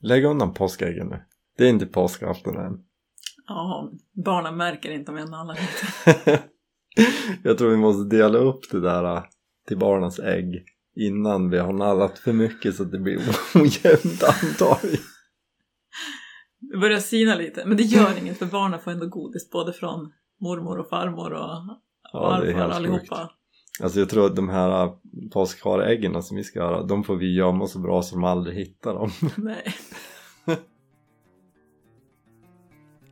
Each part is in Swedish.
Lägg undan påskäggen nu. Det är inte påskafton än. Ja, barnen märker inte om jag nallar lite. Jag tror vi måste dela upp det där äh, till barnens ägg innan vi har nallat för mycket så att det blir ojämnt antar jag. Det börjar sina lite, men det gör inget för barnen får ändå godis både från mormor och farmor och Ja, det är farfar helt allihopa. sjukt. Alltså jag tror att de här äh, påskharäggen som vi ska göra, de får vi gömma så bra så de aldrig hittar dem. Nej.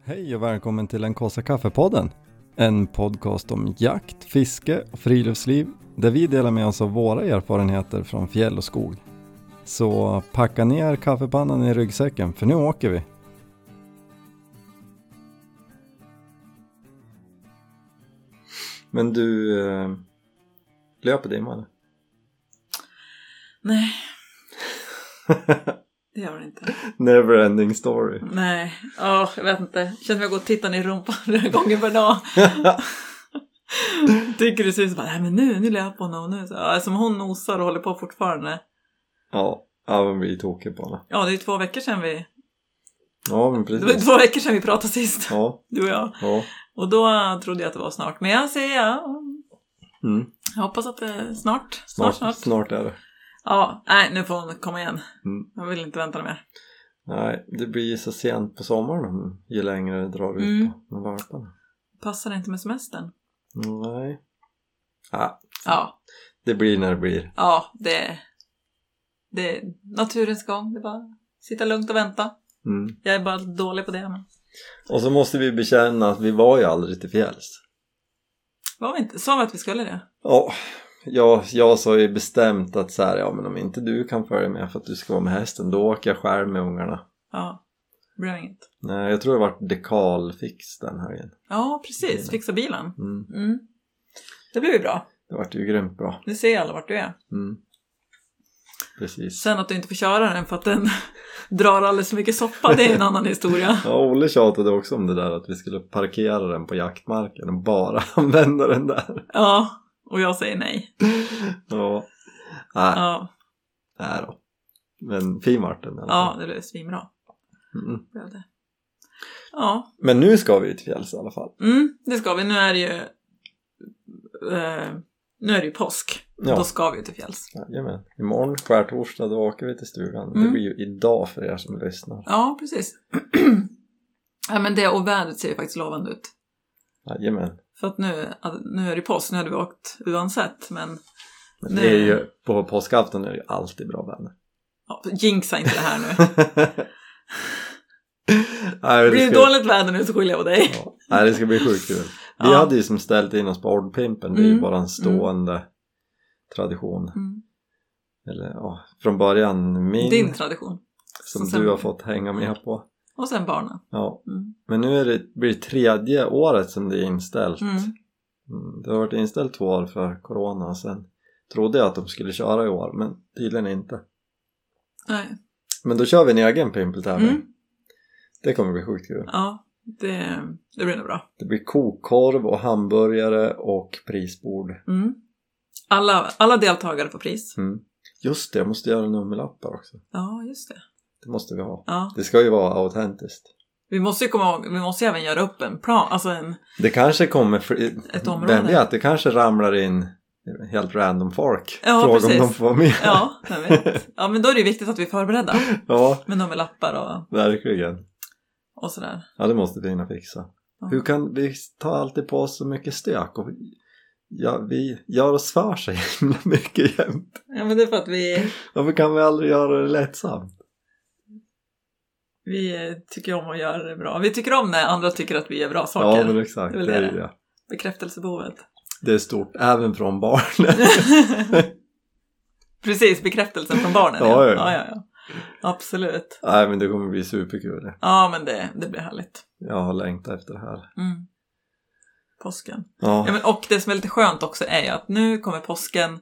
Hej och välkommen till den kaffe kaffepodden. En podcast om jakt, fiske och friluftsliv där vi delar med oss av våra erfarenheter från fjäll och skog. Så packa ner kaffepannan i ryggsäcken för nu åker vi. Men du, eh, löper dimma eller? Nej. Det gör det inte. Neverending story. Nej, åh, jag vet inte. Känns som jag går och tittar ner i rumpan flera gånger per dag. Tycker det ser ut som bara, nej men nu, nu löper hon och nu så. Ja, som hon nosar och håller på fortfarande. Ja, ja men vi är tokiga på henne. Ja, det är ju två veckor sedan vi, Ja men det var ju precis. två veckor sedan vi pratade sist, Ja, du och jag. ja. Och då trodde jag att det var snart, men jag säger ja. Mm. Jag hoppas att det är snart, Snart, snart, snart. snart. är det. Ja, nej nu får hon komma igen. Mm. Jag vill inte vänta mer. Nej, det blir ju så sent på sommaren om- ju längre det drar ut Mm. på med valparna. Passar det inte med Mm. semestern? Nej. Ja, Ja, det blir när det blir. ja, det, det är naturens gång. Det är bara att sitta lugnt och vänta. Mm. Jag är bara dålig på det. Men... Och så måste vi bekänna att vi var ju aldrig till fjälls. Var vi inte, sa vi att vi skulle det? Ja, jag, jag sa ju bestämt att så här, ja men om inte du kan följa med för att du ska vara med hästen då åker jag själv med ungarna. Ja, det blev inget. Nej, jag tror det vart dekalfix den helgen. Ja, precis. Fixa bilen. Mm. Mm. Det blev ju bra. Det vart ju grymt bra. Nu ser alla vart du är. Mm. Precis. Sen att du inte får köra den för att den drar alldeles för mycket soppa, det är en annan historia. Ja, Olle tjatade också om det där att vi skulle parkera den på jaktmarken och bara använda den där. Ja, och jag säger nej. Ja, nej, Ja, nej då. Men fin vart den i alla ja fall. det blev svinbra. Mm. Blev det. Ja, Men nu ska vi ju till fjälls i alla fall. mm, det ska vi. Nu är det ju, eh, nu är det ju påsk. Ja. Då ska vi ju till fjälls. Jajamän. Imorgon skärtorsdag då åker vi till stugan. Det Mm. blir ju idag för er som lyssnar. Ja, precis. ja, men det och vädret ser ju faktiskt lovande ut. Jajamän. För att nu, att- nu är det påsk, nu hade vi åkt oavsett, men Men Nej. det är ju, på påskafton är det ju alltid bra väder. ja, jinxa inte det här nu. nej, Blir det dåligt väder nu så skyller jag på dig. Ja. Nej, det ska bli sjukt kul. Vi Ja. hade ju som ställt in oss på Ordpimpen, det är ju Mm, bara en stående tradition. Mm. Eller ja, från början min Din tradition. som som sen- du har fått hänga med på. Och sen barnen. Ja. Mm. Men nu är det, blir det tredje året som det är inställt. Mm. Mm, Det har varit inställt två år för corona och sen trodde jag att de skulle köra i år men tydligen inte. Nej. Men då kör vi en egen pimpeltävling. Mm. Det kommer bli sjukt kul. Ja, det, det blir nog bra. Det blir kokkorv och hamburgare och prisbord. Mm. Alla, alla deltagare får pris. Mm. Just det, jag måste göra nummerlappar också. Ja, just det. Det måste vi ha. Ja. Det ska ju vara autentiskt. Vi måste ju komma ihåg, vi måste ju även göra upp en plan, alltså en... Det kanske kommer, fl- Ett område. vem vet, det kanske ramlar in helt random folk. Ja, Fråga precis. om de får vara med. Ja, vem vet. Ja, men då är det ju viktigt att vi är förberedda. Ja, Men de med lappar och, verkligen. och sådär. Ja, det måste Tina fixa. Ja. Hur kan vi ta alltid på oss så mycket stök? Och ja, vi gör oss för sig himla mycket jämt. Ja, men det är för att vi, Varför kan vi aldrig göra det lättsamt? vi eh, tycker om att göra det bra. Vi tycker om när andra tycker att vi gör bra saker. Ja, men exakt. Det är väl Det är, det. det. Bekräftelsebehovet. det är stort, även från barnen. Precis, bekräftelsen från barnen. Ja, ja, ja. ja. ja, ja. Absolut. Nej, men det kommer bli superkul. det. Ja, men det, det blir härligt. Jag har längtat efter det här. Mm. Påsken. Ja, Ja, men, och det som är lite skönt också är ju att nu kommer påsken,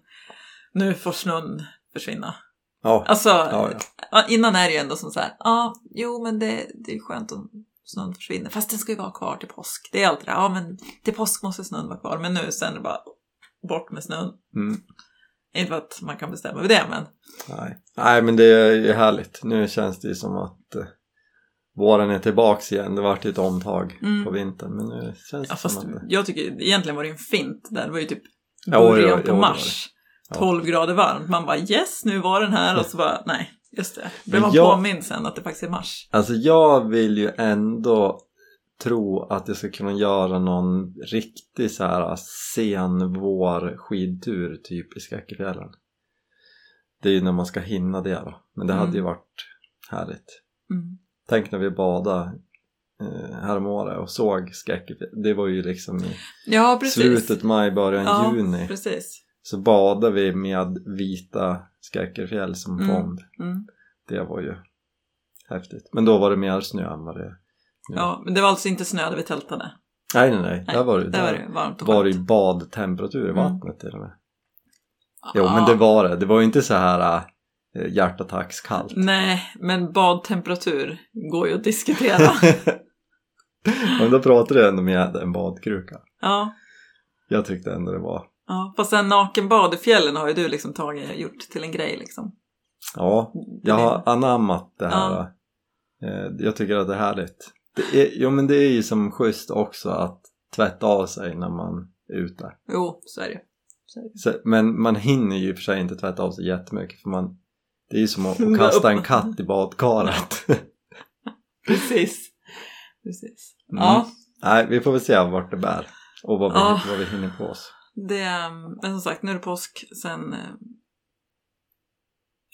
nu får snön försvinna. ja, Alltså, ja. ja. ja, innan är det ju ändå som så här, ja, jo men det, det är skönt om snön försvinner, fast den ska ju vara kvar till påsk. Det är alltid det, ja men till påsk måste snön vara kvar, men nu sen är det bara bort med snön. Mm. Inte för att man kan bestämma över det men Nej. Nej, men det är ju härligt. Nu känns det ju som att eh, våren är tillbaks igen. Det vart ju ett omtag Mm. på vintern. Men nu känns det som ja, fast att det... jag tycker egentligen var det en fint där. Det var ju typ Ja, oj, början oj, på oj, oj. mars. Ja. 12 grader varmt. Man bara yes nu var den här och så bara nej just det. Blev Men man jag- påmind sen att det faktiskt är mars. Alltså jag vill ju ändå tro att jag ska kunna göra någon riktig så här senvår skidtur typ i Skackefjällen. Det är ju när man ska hinna det då. Men det hade Mm. ju varit härligt. Mm. Tänk när vi badade eh, häromåret och såg Skackefjällen. Det var ju liksom i Ja precis. slutet maj, början ja, juni. precis. Så badade vi med vita Skackefjäll som Mm. fond. Mm. Det var ju häftigt. Men då var det mer snö än vad det är. Ja. Ja, men det var alltså inte snö där vi tältade. Nej, nej, nej. Nej, där var det, Där var det där varmt och var det skönt. ju badtemperatur i Mm. vattnet till och med. Jo, men det var det. Det var ju inte så här äh, hjärtattackskallt. Nej, men badtemperatur går ju att diskutera. Mm. men då pratade jag ändå med en badkruka. ja, Jag tyckte ändå det var... ja. Fast sen nakenbad i fjällen har ju du liksom tagit, gjort till en grej liksom. Ja, Det jag har är- anammat det här. Mm. Ja. eh, Jag tycker att det är härligt. Det är, jo, men det är ju som schysst också att tvätta av sig när man är ute. Jo, så är det ju. Så, men man hinner ju i och för sig inte tvätta av sig jättemycket för man, det är ju som att, att kasta en katt i badkaret. Precis. Precis. Mm. Ja, Nej, vi får väl se vart det bär och vad vi, Ja. vad vi hinner på oss. det, ehm, men som sagt, nu är det påsk, sen... ehm,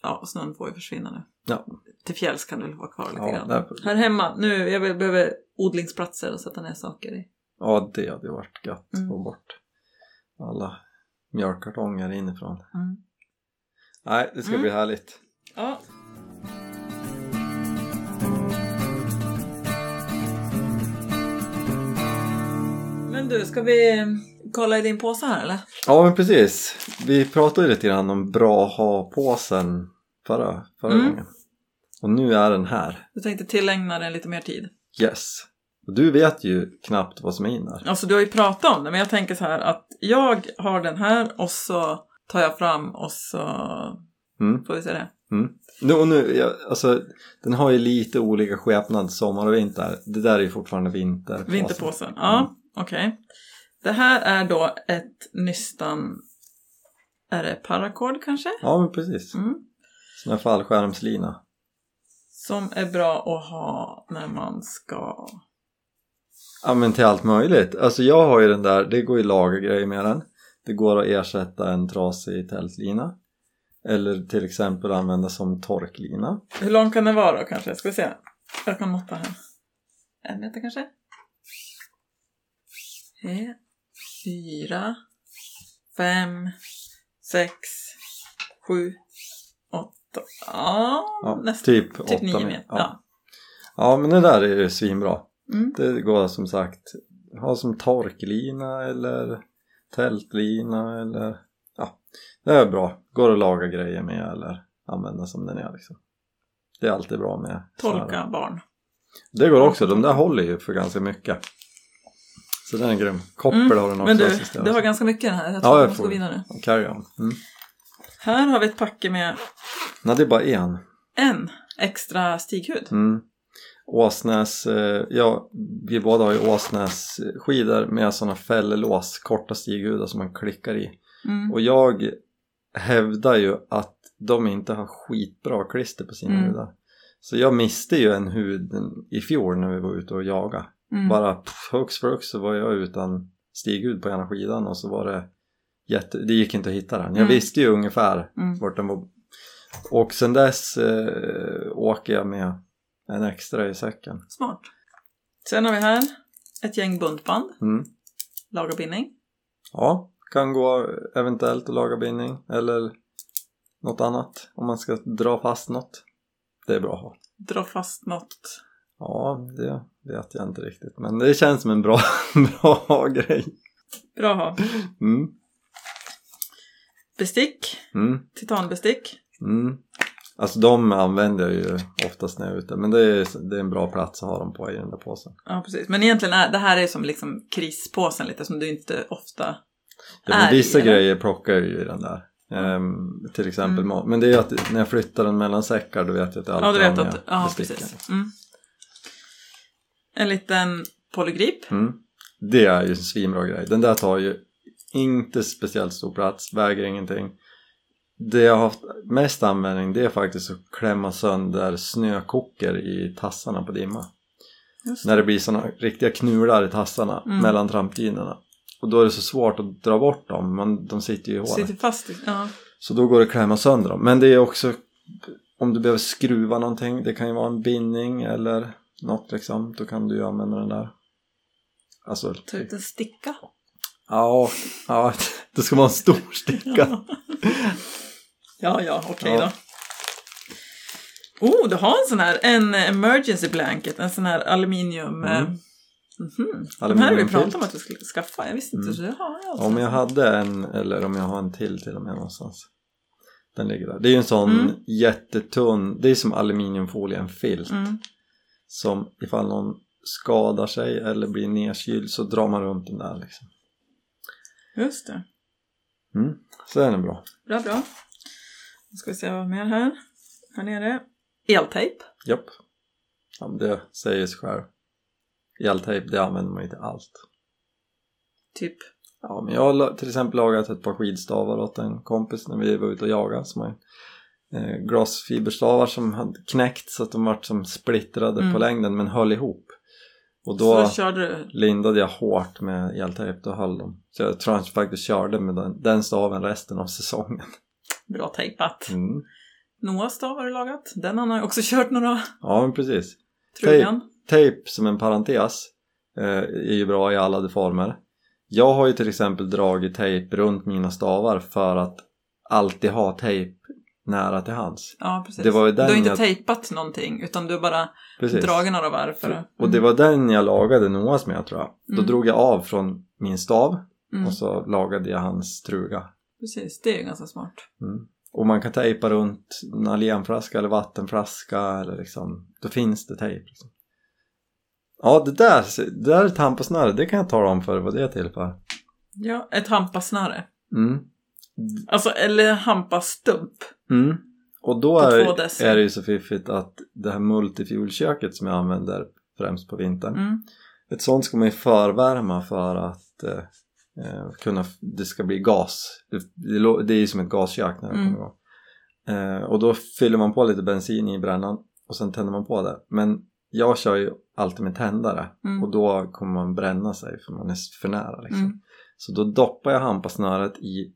Ja, snön får ju försvinna nu. Ja. Till fjälls kan det väl vara kvar lite Ja, grann. där- Här hemma, nu, jag vill- behöver odlingsplatser och sätta ner saker i. Ja, det hade ju varit gött att Mm. få bort alla mjölkkartonger inifrån. Mm. Nej, det ska Mm. bli härligt. Ja, Men du, ska vi eh, kolla i din påse här eller? Ja, men precis. Vi pratade ju lite grann om bra ha-påsen förra, förra Mm. gången. Och nu är den här. Du tänkte tillägna den lite mer tid. Yes. Och du vet ju knappt vad som är in där. Alltså du har ju pratat om det, men jag tänker så här att jag har den här och så tar jag fram och så Mm. får vi se det. Nu, och nu, jag, alltså, den har ju lite olika skepnad sommar och vinter. Det där är ju fortfarande vinter. Vinterpåsen. Ja, Mm. okej. Det här är då ett nystan... Är det paracord kanske? Ja, men precis. Mm. Sån här fallskärmslina. Som är bra att ha när man ska... Ja, men till allt möjligt. Alltså jag har ju den där, det går ju att laga grejer med den. Det går att ersätta en trasig tältlina. Eller till exempel använda som torklina. Hur lång kan den vara då kanske? Ska vi se. Jag kan måtta här. En meter kanske? Tre, fyra, fem, sex, sju, åtta. Ja, Ja, nästan. typ, Typ åtta nio men- meter. Ja. Ja. ja, men det där är ju svinbra. Mm. Det går som sagt ha som torklina eller tältlina eller ja, det är bra. Går att laga grejer med eller använda som den är liksom. Det är alltid bra med så här. Tolka barn. Det går också, de där håller ju för ganska mycket. Så den är grym. Koppel Mm, har den också. Men du, assistent. du har ganska mycket i den här. Jag Ja, tror jag att man ska får- vinna nu. Carry on. Mm. Här har vi ett packe med Nej, det är bara en. en extra stighud. Mm. Åsnäs, eh, ja vi båda har ju Åsnäs skidor med sådana fällelås, korta stighudar som man klickar i. Mm. Och jag hävdar ju att de inte har skitbra klister på sina Mm. hudar. Så jag miste ju en hud i fjol när vi var ute och jagade. Mm. Bara pff, hux flux så var jag utan stighud på ena skidan och så var det jätte... Det gick inte att hitta den. Jag Mm. visste ju ungefär Mm. vart den var. Och sen dess eh, åker jag med en extra i säcken. Smart. Sen har vi här ett gäng buntband, Mm. lagerbindning. Ja, kan gå eventuellt att laga bindning eller något annat om man ska dra fast något. Det är bra att ha. Dra fast något. Ja, det vet jag inte riktigt men det känns som en bra, bra grej. Bra att ha. Mm, Bestick, mm, titanbestick. mm. Alltså de använder jag ju oftast när jag är ute men det är, det är en bra plats att ha dem på i den där påsen. Ja, precis. Men egentligen är det här är som liksom krispåsen lite som du inte ofta Ja, men Är vissa i den? grejer plockar jag ju i den där. Ehm, till exempel Mm. mat. Men det är ju att när jag flyttar den mellan säckar då vet jag att det Ja, du alltid vet har att... med Ja, besticken. precis. Mm. En liten polygrip. Mm. Det är ju en svinbra grej. Den där tar ju inte speciellt stor plats, väger ingenting. Det jag har haft mest användning det är faktiskt att klämma sönder snökockor i tassarna på dimma. Just När det blir såna riktiga knular i tassarna Mm. mellan trampdynorna. Och då är det så svårt att dra bort dem, men de sitter ju i hålet. Sitter fast i... Ja. Så då går det att klämma sönder dem. Men det är också om du behöver skruva någonting, det kan ju vara en bindning eller något liksom, då kan du ju använda den där. Alltså, Ta ut en sticka. ja, ja, det ska vara en stor sticka. Ja, ja, okej Ja. då. Oh, du har en sån här, en emergency blanket, en sån här aluminium... Mm. eh, mhm. De här har vi Aluminiumfilt. pratat om att vi skulle skaffa, jag visste inte Mm. så det har jag också. Om jag hade en, eller om jag har en till till och med någonstans. Den ligger där. Det är ju en sån Mm. jättetunn, det är som aluminiumfolie, en filt. Mm. Som ifall någon skadar sig eller blir nedkyld så drar man runt den där liksom. Just det, Mm. Så den är bra. bra bra. Nu ska vi se vad mer här. Här nere. Eltejp. Japp. Ja, men det säger sig själv. Eltejp, det använder man ju till allt. Typ. Ja, men jag har la- till exempel lagat ett par skidstavar åt en kompis när vi var ute och jagade. Som har eh, glasfiberstavar som hade knäckt så att de vart som splittrade Mm. på längden men höll ihop. Och Så då då körde du. lindade jag hårt med eltejp, då höll de. Så jag tror att jag faktiskt körde med den, den staven resten av säsongen. Bra tejpat. Mm. Noahs stav har du lagat. Den har jag också kört några. Ja, men precis. Trugan. Tejp som en parentes eh, är ju bra i alla de former. Jag har ju till exempel dragit tejp runt mina stavar för att alltid ha tejp nära till hands. Ja, precis. Det var ju du har den inte jag- tejpat någonting, utan du har bara Precis. dragit några varv för att... Och det var den jag lagade Noahs med tror jag. Då Mm. drog jag av från min stav Mm. och så lagade jag hans truga. Precis, det är ju ganska smart. Mm. Och man kan tejpa runt en algenflaska eller vattenflaska eller liksom, då finns det tejp. Liksom. Ja, det där, det där är tampasnöre, det kan jag tala om för vad det är till för. Ja, ett hampasnöre. Mm. Alltså, eller hampastump. Mm. Och då På är, två deci. är det ju så fiffigt att det här multifuelköket som jag använder främst på vintern. Mm. Ett sånt ska man ju förvärma för att eh, eh, kunna, f- det ska bli gas. Det, det, lå- det är ju som ett gaskök när det Mm. kommer igång. Eh, och då fyller man på lite bensin i brännan och sen tänder man på det. Men jag kör ju alltid med tändare Mm. och då kommer man bränna sig för man är s- för nära liksom. Mm. Så då doppar jag hampasnöret i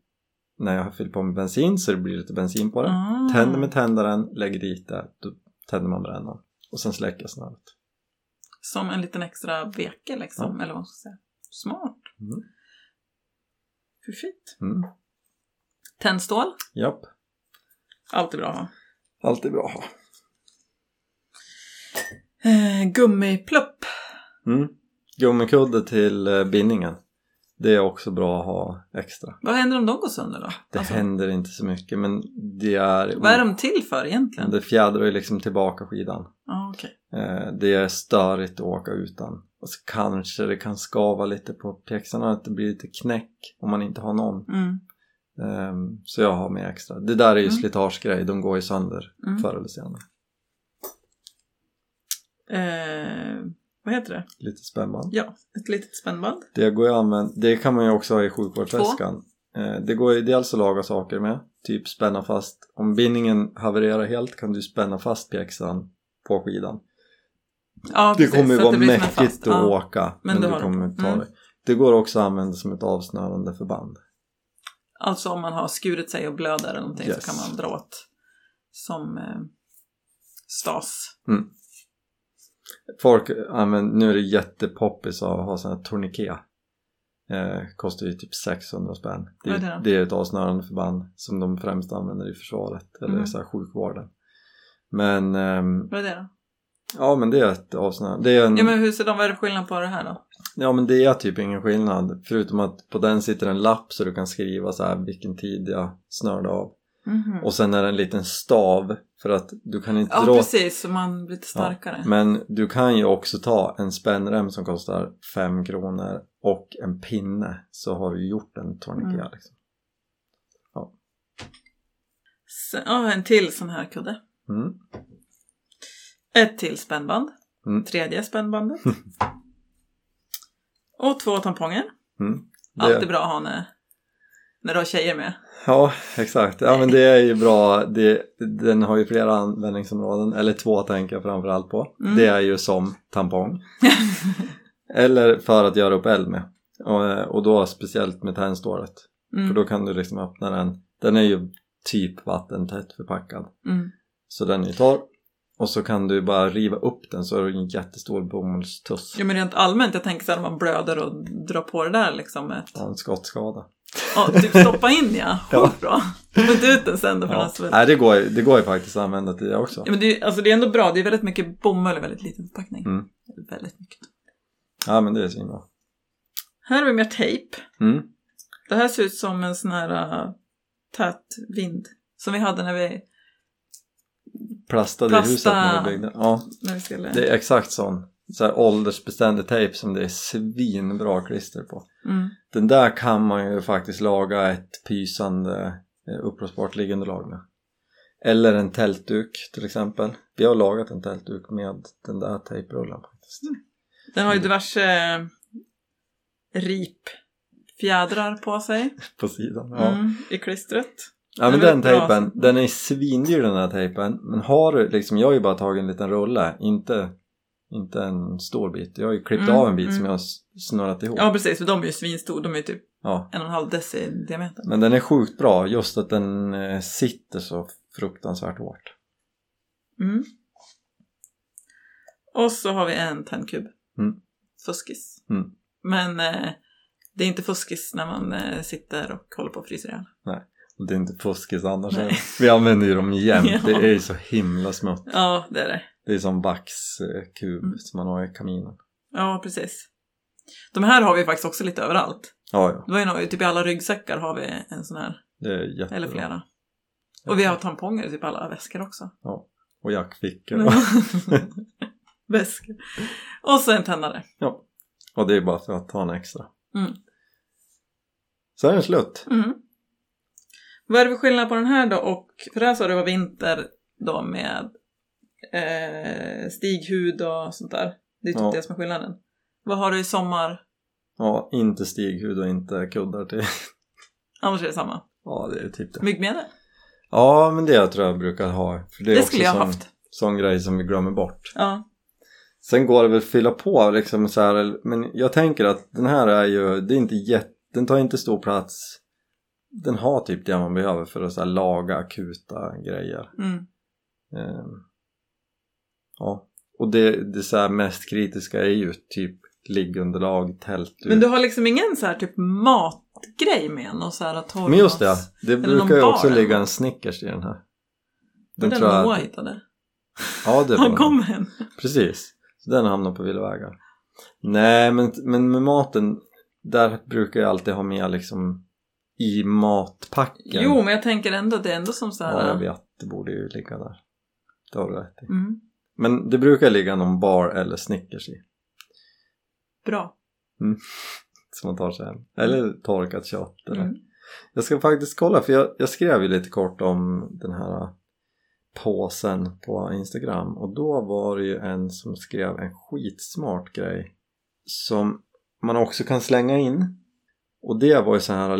när jag har fyllt på med bensin så det blir lite bensin på det. Ah. Tänder med tändaren, lägger dit det, då tänder man brännan och sen släcker snöret. Som en liten extra veke liksom, eller vad man ska säga. Smart. Mm. Fiffigt. Mm. Tändstål. Japp, Alltid bra att ha. allt är bra att ha. Eh, gummiplupp. Mm. Gummikudde till eh, bindningen. Det är också bra att ha extra. Vad händer om de går sönder då? Det Alltså, händer inte så mycket men det är... Vad är de till för egentligen? Det fjädrar ju liksom tillbaka skidan. Ah, okej. Eh, Det är störigt att åka utan. Och så kanske det kan skava lite på pjäxorna, att det blir lite knäck om man inte har någon. mm. Ehm, Så jag har med extra. Det där är ju Mm. slitagegrej, de går ju sönder Mm. förr eller senare. Eh, vad heter det? Lite spännband. Ja, ett litet spännband. Det, går ju att använda, det kan man ju också ha i sjukvårdsväskan. Eh, Det går ju dels att laga saker med, typ spänna fast. Om bindningen havererar helt kan du spänna fast pjäxan på skidan. Ja, Det precis, kommer ju så vara det blir som en mäckigt fast- att ja. åka, men, du du har- kommer ta mm. det. Det går också att använda som ett avsnörande förband. Alltså om man har skurit sig och blöder eller någonting Yes. så kan man dra åt som eh, stas. Folk använder, nu är det jättepoppis att ha sådana här tourniquet. Eh, kostar ju typ 600 spänn. Det är, Vad är det? det är ett avsnörande förband som de främst använder i försvaret eller Mm. så här sjukvården. Men ehm, Vad är det då? Ja men det är ett avsnitt. Det är en, Ja men hur ser de, vad är det för skillnad på det här då? det är typ ingen skillnad. Förutom att på den sitter en lapp så du kan skriva så här vilken tid jag snörde av. Mhm. Och sen är det en liten stav för att du kan inte ja dra... precis, så man blir lite starkare. Men du kan ju också ta en spännrem som kostar 5 kronor och en pinne så har du gjort en tourniquet Mm. liksom. Ja. Sen, ja, en till sån här kudde. Mm. Ett till spännband. Mm. Tredje spännbandet. och två tamponger. Mm. Det- Alltid bra att ha när, när du har tjejer med. Ja, exakt. Ja, men det är ju bra. Det, den har ju flera användningsområden, eller två tänker jag framförallt på. Mm. Det är ju som tampong. eller för att göra upp eld med. Och, och då speciellt med tändstålet. Mm. För då kan du liksom öppna den. Den är ju typ vattentätt förpackad. Mm. Så den är ju torr. Och så kan du bara riva upp den så är det en jättestor bomullstuss. Jo men rent allmänt, jag tänker så här om man blöder och drar på det där liksom med ett... Ja, en skottskada. Ja, typ stoppa in ja! Ja. Sjukt bra! Spänt ut den sen då från Ja. hans svett. Nej, det, går, ju- det går ju faktiskt att använda till det också. Ja, men det, är- alltså, det är ändå bra, det är väldigt mycket bomull i väldigt liten förpackning. Mm. Väldigt mycket. Ja, men det är svinbra. Här har vi mer tejp. Mm. Det här ser ut som en sån här uh, tät vind som vi hade när vi, Plastade i Plasta. huset när vi byggde. Ja. när vi skulle... Det är exakt sån så här åldersbeständig tejp som det är svinbra klister på. Mm. Den där kan man ju faktiskt laga ett pysande eh, uppblåsbart liggunderlag med. Eller en tältduk till exempel. Vi har lagat en tältduk med den där tejprullen faktiskt. Mm. Den Mm. har ju diverse uh, ripfjädrar på sig På sidan. Ja, mm, i klistret. ja men det är den bra. tejpen, den är svindyr den här tejpen. Men har du liksom, jag har ju bara tagit en liten rulle, inte, inte en stor bit. Jag har ju klippt Mm, av en bit mm. som jag har s- snurrat ihop. Ja precis, för de är ju svinstora, de är ju typ Ja. en och en halv deci i diameter. Men den är sjukt bra, just att den eh, sitter så fruktansvärt hårt. Mm. Och så har vi en tändkub. Mm. Fuskis. Mm. Men eh, det är inte fuskis när man eh, sitter och håller på och fryser ihjäl. Och det är inte fuskis annars. Nej. Vi använder ju dem jämt, Ja. det är ju så himla smått. Ja, det är det. Det är som vaxkub Mm. som man har i kaminen. Ja, precis. De här har vi faktiskt också lite överallt. Ja, ja, Det var ju några, typ i alla ryggsäckar har vi en sån här, det är jättebra. eller flera. Och vi har tamponger i typ alla väskor också. Och jackfickor. Mm. Väskor. Och så en tändare. Ja. Och det är bara för att ta en extra. Mm. Så är den slut. Mm. Vad är det för skillnad på den här då och, för det här sa du var vinter då med eh, stighud och sånt där. Det är typ Ja. det som är skillnaden. Vad har du i sommar? Ja, inte stighud och inte kuddar till. Annars är det samma. Ja, det är typ det. Myggmedel? Ja, men det tror jag brukar ha. För det Det, är också skulle jag sån, haft. sån grej som vi glömmer bort. Ja. Sen går det väl att fylla på liksom så här, men jag tänker att den här är ju, det är inte jätte, den tar inte stor plats. Den har typ det man behöver för att så här, laga akuta grejer. Mm. Ehm, ja, och det, det så här mest kritiska är ju typ liggunderlag, tält. Men du har liksom ingen så här typ matgrej med? Någon så här torr Men just det, mat? det någon brukar ju också bar ligga eller? en Snickers i den här. Det är den tror jag- Moa hittade. Ja, det Han var kom hem. Precis, så den hamnar på villovägar. Nej, men, men med maten, där brukar jag alltid ha med liksom i matpacken. Jo, men jag tänker ändå, det är ändå som så här... Ja, jag vet, det borde ju ligga där. Det har du rätt i. Mm. Men det brukar ligga någon bar eller Snickers i, Bra. som man tar sig hem. Eller torkat kött eller. Mm. Jag ska faktiskt kolla, för jag, jag skrev ju lite kort om den här äh, påsen på Instagram och då var det ju en som skrev en skitsmart grej som man också kan slänga in och det var ju sån här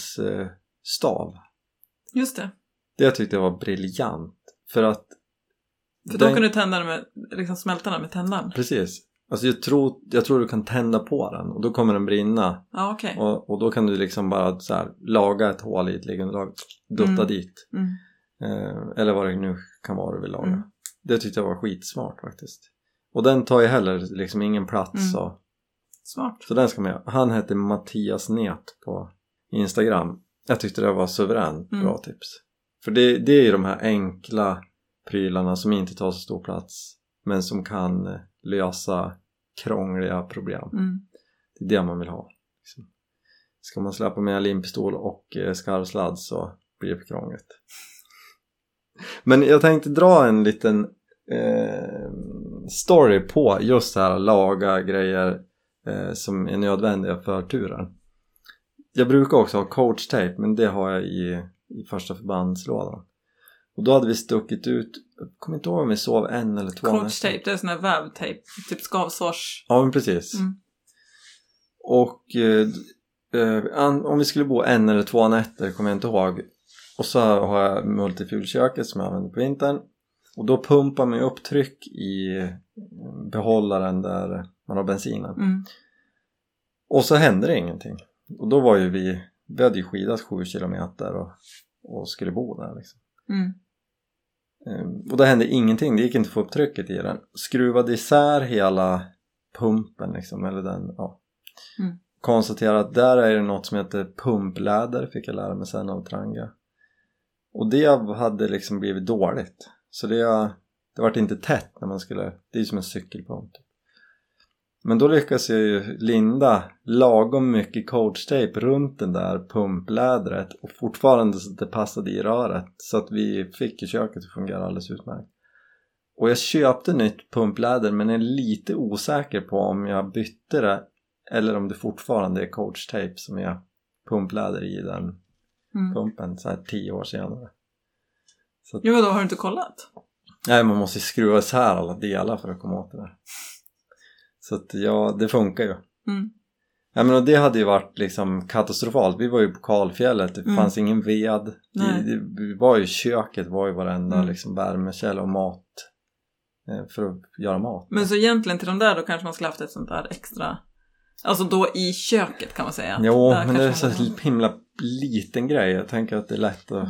limpistolsstav. Just det. Det tyckte jag var briljant för att För den- då kan du tända den med, liksom smälta den med tändaren. Precis. Alltså jag tror, jag tror du kan tända på den och då kommer den brinna Ja, okej. Och, och då kan du liksom bara så här, laga ett hål i ett liggunderlag, dutta Mm. dit. Mm. Eh, eller vad det nu kan vara du vill laga. Mm. Det tyckte jag var skitsmart faktiskt. Och den tar ju heller liksom ingen plats. Mm. Och, Smart. så den ska med. Han hette Mattias Net på Instagram. Jag tyckte det var suveränt Mm. bra tips. För det, det är ju de här enkla prylarna som inte tar så stor plats men som kan eh, lösa krångliga problem. Mm. Det Det är det man vill ha. Liksom. Ska man släpa med limpistol och eh, skarvsladd så blir det för krångligt. Men jag tänkte dra en liten eh, story på just så här laga grejer eh, som är nödvändiga för turen. Jag brukar också ha coachtejp men det har jag i i första förbandslådan. Och då hade vi stuckit ut, jag kommer inte ihåg om vi sov en eller två Crotch tape, det är sån här vävtejp. Typ skavsårs. Ja, men precis. Mm. Och eh, eh, an- om vi skulle bo en eller två nätter kommer jag inte ihåg. Och så har jag multifuelköket som jag använder på vintern. Och då pumpar man ju upp tryck i eh, behållaren där man har bensinen. Mm. Och så hände det ingenting. Och då var ju vi, vi hade ju skidat sju kilometer och, och skulle bo där liksom. Mm. Eh, Och det hände ingenting, det gick inte att få upp trycket i den. Skruvade isär hela pumpen liksom, eller den, ja. Mm. Konstaterade att där är det något som heter pumpläder, fick jag lära mig sen av Tranga. Och det hade liksom blivit dåligt. Så det, det vart inte tätt när man skulle, det är ju som en cykelpump. typ. Men då lyckas jag ju linda lagom mycket coachtejp runt den där pumplädret och fortfarande så att det passade i röret så att vi fick i köket att fungera alldeles utmärkt. Och jag köpte nytt pumpläder men är lite osäker på om jag bytte det eller om det fortfarande är coachtejp som är pumpläder i den Mm. pumpen så här tio år senare. Jo, då har du inte kollat? Nej, man måste ju skruva isär alla delar för att komma åt det där. Så att ja, det funkar ju. Mm. Ja, men och det hade ju varit liksom katastrofalt. Vi var ju på kalfjället, det Mm. fanns ingen ved. Det, Nej. det, vi var ju köket, var ju varenda Mm. liksom, värmekälla och mat eh, för att göra mat. Men så egentligen till de där då kanske man skulle haft ett sånt där extra... Alltså då i köket kan man säga. jo, Där men kanske det är man så hade- Mm. här himla liten grej. Jag tänker att det är lätt att...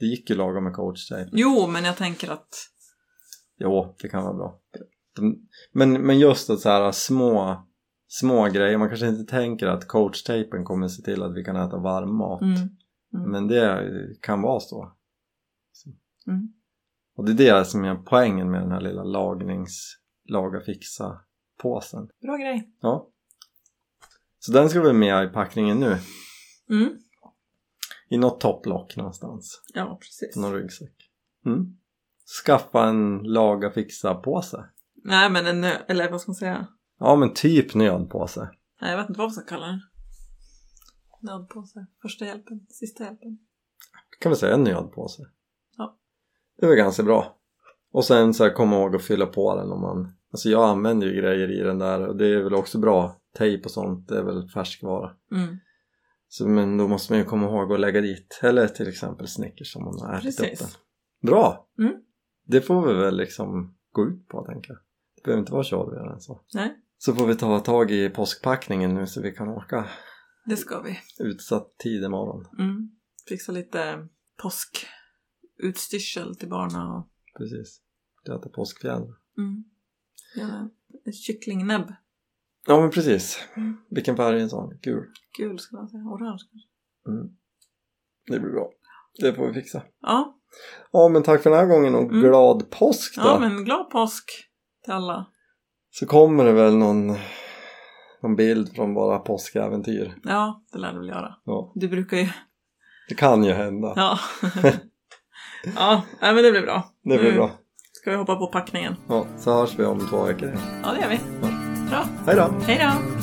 Det gick ju lagom med coach dig. Jo, men jag tänker att... Jo, det kan vara bra. De, men, men just att så här små, små grejer, man kanske inte tänker att coachtejpen kommer se till att vi kan äta varm mat. Mm. Mm. Men det kan vara så. Mm. Och det är det som är poängen med den här lilla lagnings, laga fixa påsen. Bra grej. Ja. Så den ska väl med i packningen nu. Mm. I något topplock någonstans. Ja, precis. Någon ryggsäck. Mm. Skaffa en laga fixa påse. Nej, men en nö... Eller vad ska man säga? Ja men typ nödpåse. Nej, jag vet inte vad man ska kalla den. Nödpåse. Första hjälpen. Sista hjälpen. kan vi säga en nödpåse. Ja. Det var ganska bra. Och sen så här, kom ihåg att fylla på den om man... Alltså jag använder ju grejer i den där och det är väl också bra. Tejp och sånt, det är väl färskvara. Mm. Så, men då måste man ju komma ihåg att lägga dit, eller till exempel Snickers som man har ätit upp den. Precis. Bra! Mm. Det får vi väl liksom gå ut på tänker jag. Det behöver inte vara tjorvigare än så. Nej. Så får vi ta tag i påskpackningen nu så vi kan åka Det ska vi. utsatt tid imorgon. Mm. Fixa lite påskutstyrsel till barnen och Precis. Du äter påskfjäll. mm. göra ett kycklingnäbb. Ja men precis. Mm. Vilken färg är en sån? Gul. Gul skulle man säga. Orange kanske. Mm. Det blir bra. Det får vi fixa. Ja. Ja men tack för den här gången och Mm. glad påsk då. ja, men glad påsk till alla. Så kommer det väl någon, någon bild från våra påskäventyr. Ja, det lär du väl göra. Ja, Du brukar ju... det kan ju hända. Ja. ja, nej, men det blir bra. Det blir Nu bra. Ska vi hoppa på packningen? Ja, så hörs vi om två veckor. Ja, det gör vi. Ja. Bra. Hej då! Hej då!